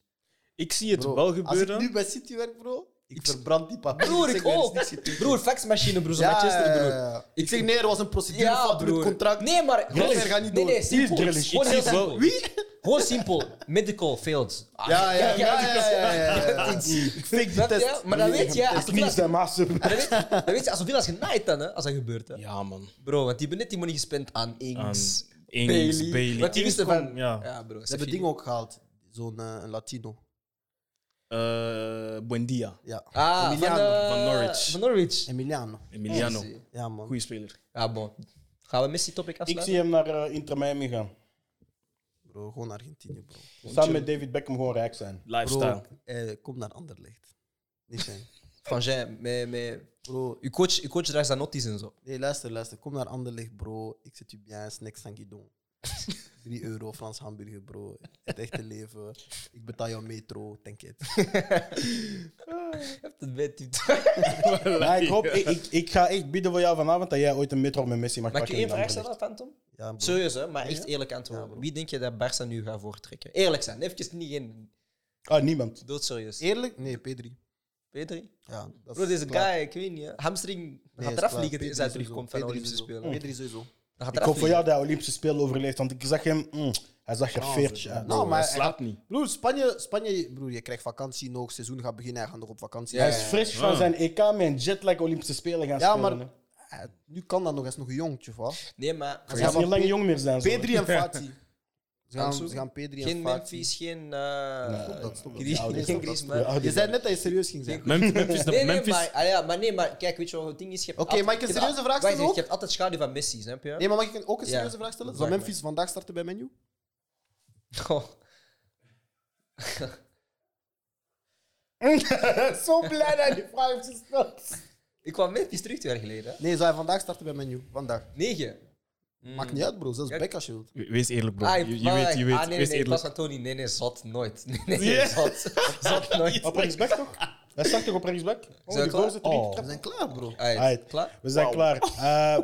Ik zie het
Bro,
wel
Als
gebeuren.
ik nu bij City werk, bro, ik verbrand die papier.
Broer,
zeg,
ik
er is
ook.
niks getekend.
Broer, faxmachine, broer. Zo Manchester, broer.
Ik zeg nee, er was een procedure
Ja,
fout door
broer.
het contract.
Nee, maar...
Grealish gaat niet
nee,
door.
nee, simpel.
Grealish. Ik
Gewoon
zie
heel
het wel.
simpel. Gewoon simpel. Medical failed. Ah,
Ja, ja, ja, ja, ja, ja, ja, ja.
Ik fake die
Dat,
test.
ja, maar dan weet je... Als
Knie
dat,
zijn maas.
dan weet, dan weet je als zoveel als genaaid dan, hè, als dat gebeurt. Hè.
Ja, man.
Bro, want die hebben net die money gespend aan Ings,
Aan Ings,
Bailey.
Bailey.
Want die
Ings
wisten van...
kon- ja.
bro.
Ze hebben dingen ook gehaald. Zo'n eh, een Latino.
Eh, Buendia.
Ja.
Ah, van,
Emiliano.
eh,
Van Norwich.
Van Norwich.
Emiliano.
Emiliano.
Ja, man.
Goeie speler.
Ja, bon. Gaan we Messi-topic
Ik
afsluiten?
zie hem naar eh, Inter Miami gaan.
bro. Gewoon Argentinië, bro.
Samen met David Beckham gewoon rijk zijn.
Lifestyle.
Bro, eh, kom naar Anderlecht. Niet zijn.
Van Jean, met, met...
Bro,
Uw coach, uw coach draagt Zanotti's en zo.
nee, luister, luister. Kom naar Anderlecht, bro. Ik zet u bien, snacks aan guidon. 3 euro, Frans hamburger, bro. Het echte leven. Ik betaal jouw metro, denk het.
Je hebt het bij die-
Maar ik, hoop, ik, ik, ik ga echt bieden voor jou vanavond dat jij ooit een metro met Messi mag
Mag ik je
pakken.
één
in
vraag
Anderlecht.
stellen, Phantom?
Ja, bro.
Serieus, hè? Maar echt eerlijk antwoord. Wie denk je dat Barça nu gaat voortrekken? Eerlijk zijn, even niet in
Ah, niemand.
doodserieus.
Eerlijk? Nee, P3.
Pedri?
Ja, dat
Bro, deze
klaar.
guy, ik weet niet. hè. Hamstring
Nee,
gaat
is
eraf
klaar.
vliegen
Pedri
als hij
sowieso.
terugkomt van de
Pedri
Olympische
sowieso.
Spelen.
Pedri sowieso.
Dan gaat
Ik
eraf
hoop voor
vliegen.
jou dat Olympische Spelen overleeft, want ik zag hem, mm, hij zag er veertje uit.
Nou, maar
Hij
hij
slaapt niet.
Broer, Spanje, Spanje, broer, je krijgt vakantie nog, seizoen gaat beginnen, hij gaat nog op vakantie.
Hij is fris van zijn EK met een jetlag Olympische Spelen gaan
Ja,
spelen.
maar
hè.
eh, nu kan dat nog, hij is nog jong, tjefa.
Nee, maar
Hij gaat niet lang jong meer zijn. zo.
Pedri en Fati. Ze gaan,
Hansu?
ze gaan Pedri en
geen
Fati.
Memphis, geen... eh,
Stop dat, stop dat.
Gries-
Oude-
geen
stop dat,
Griezmann.
stop dat. Je zei net dat je serieus ging zijn.
Mem- Memphis, dat-
Nee, nee,
Memphis,
maar, ah ja, maar nee, maar kijk, weet je wat het ding is? Je hebt
Oké,
altijd-
mag ik een
je hebt al-
serieuze vraag
wacht,
stellen
Je hebt altijd schaduw van Messi, snap je?
Nee, maar mag ik een- ook een
Ja.
serieuze vraag stellen? Zou
Vraag
Memphis vandaag starten bij menu?
Goh.
Zo blij dat die vraag heeft gesteld.
Ik kwam Memphis terug twee jaar geleden. hè.
Nee, zou hij vandaag starten bij menu? Vandaag.
Negen.
Hmm.
Maakt niet uit, bro. Zelfs
Kijk.
Beck als je wilt.
We- Wees eerlijk, bro.
Ah,
Je, je
maar-
weet, je weet.
Ah, nee,
Wees
nee,
eerlijk.
Pas Antoni, nee, nee, zot, nooit. Nee, nee, zot. Zot, nooit.
Op rechtsback toch? Hij staat toch op rechtsback? Oh, Ah,
Zijn
die
klaar?
voorzitter die getrapt
We zijn klaar, bro.
Alright,
Alright.
klaar?
We zijn klaar. Eh,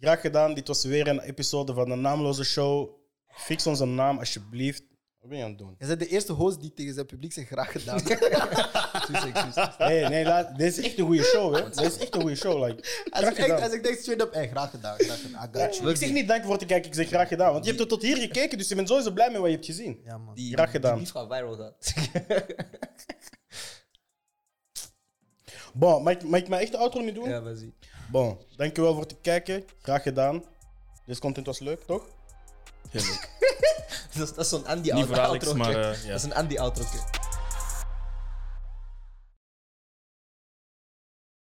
graag gedaan. Dit was weer een episode van de Naamloze Show. Fix onze naam, alsjeblieft. Wat ben je aan het doen?
Je bent de eerste host die tegen zijn publiek zegt graag gedaan.
Excuus, excuus.
Nee, nee, laat, dit is echt een goede show, hè? Dit is echt een goede show. Like,
Als
graag
ik, echt,
gedaan.
als ik denk straight up, hey, graag gedaan, graag gedaan. I got you.
Ik zeg niet dank voor te kijken, ik zeg graag gedaan. Want je hebt het tot hier gekeken, dus je bent sowieso blij met wat je hebt gezien.
Ja, man.
Die,
Graag gedaan.
Die lief gaat viral gaat.
Bon, mag ik, mag ik mijn echte outro nu doen?
ja, maar zie.
Bon, dankjewel voor het kijken. Graag gedaan. Deze content was leuk, toch?
Dat is, dat is zo'n
Niet
Andy-outro.
verraderlijk, maar... eh, ja.
Dat is een Andy-outro.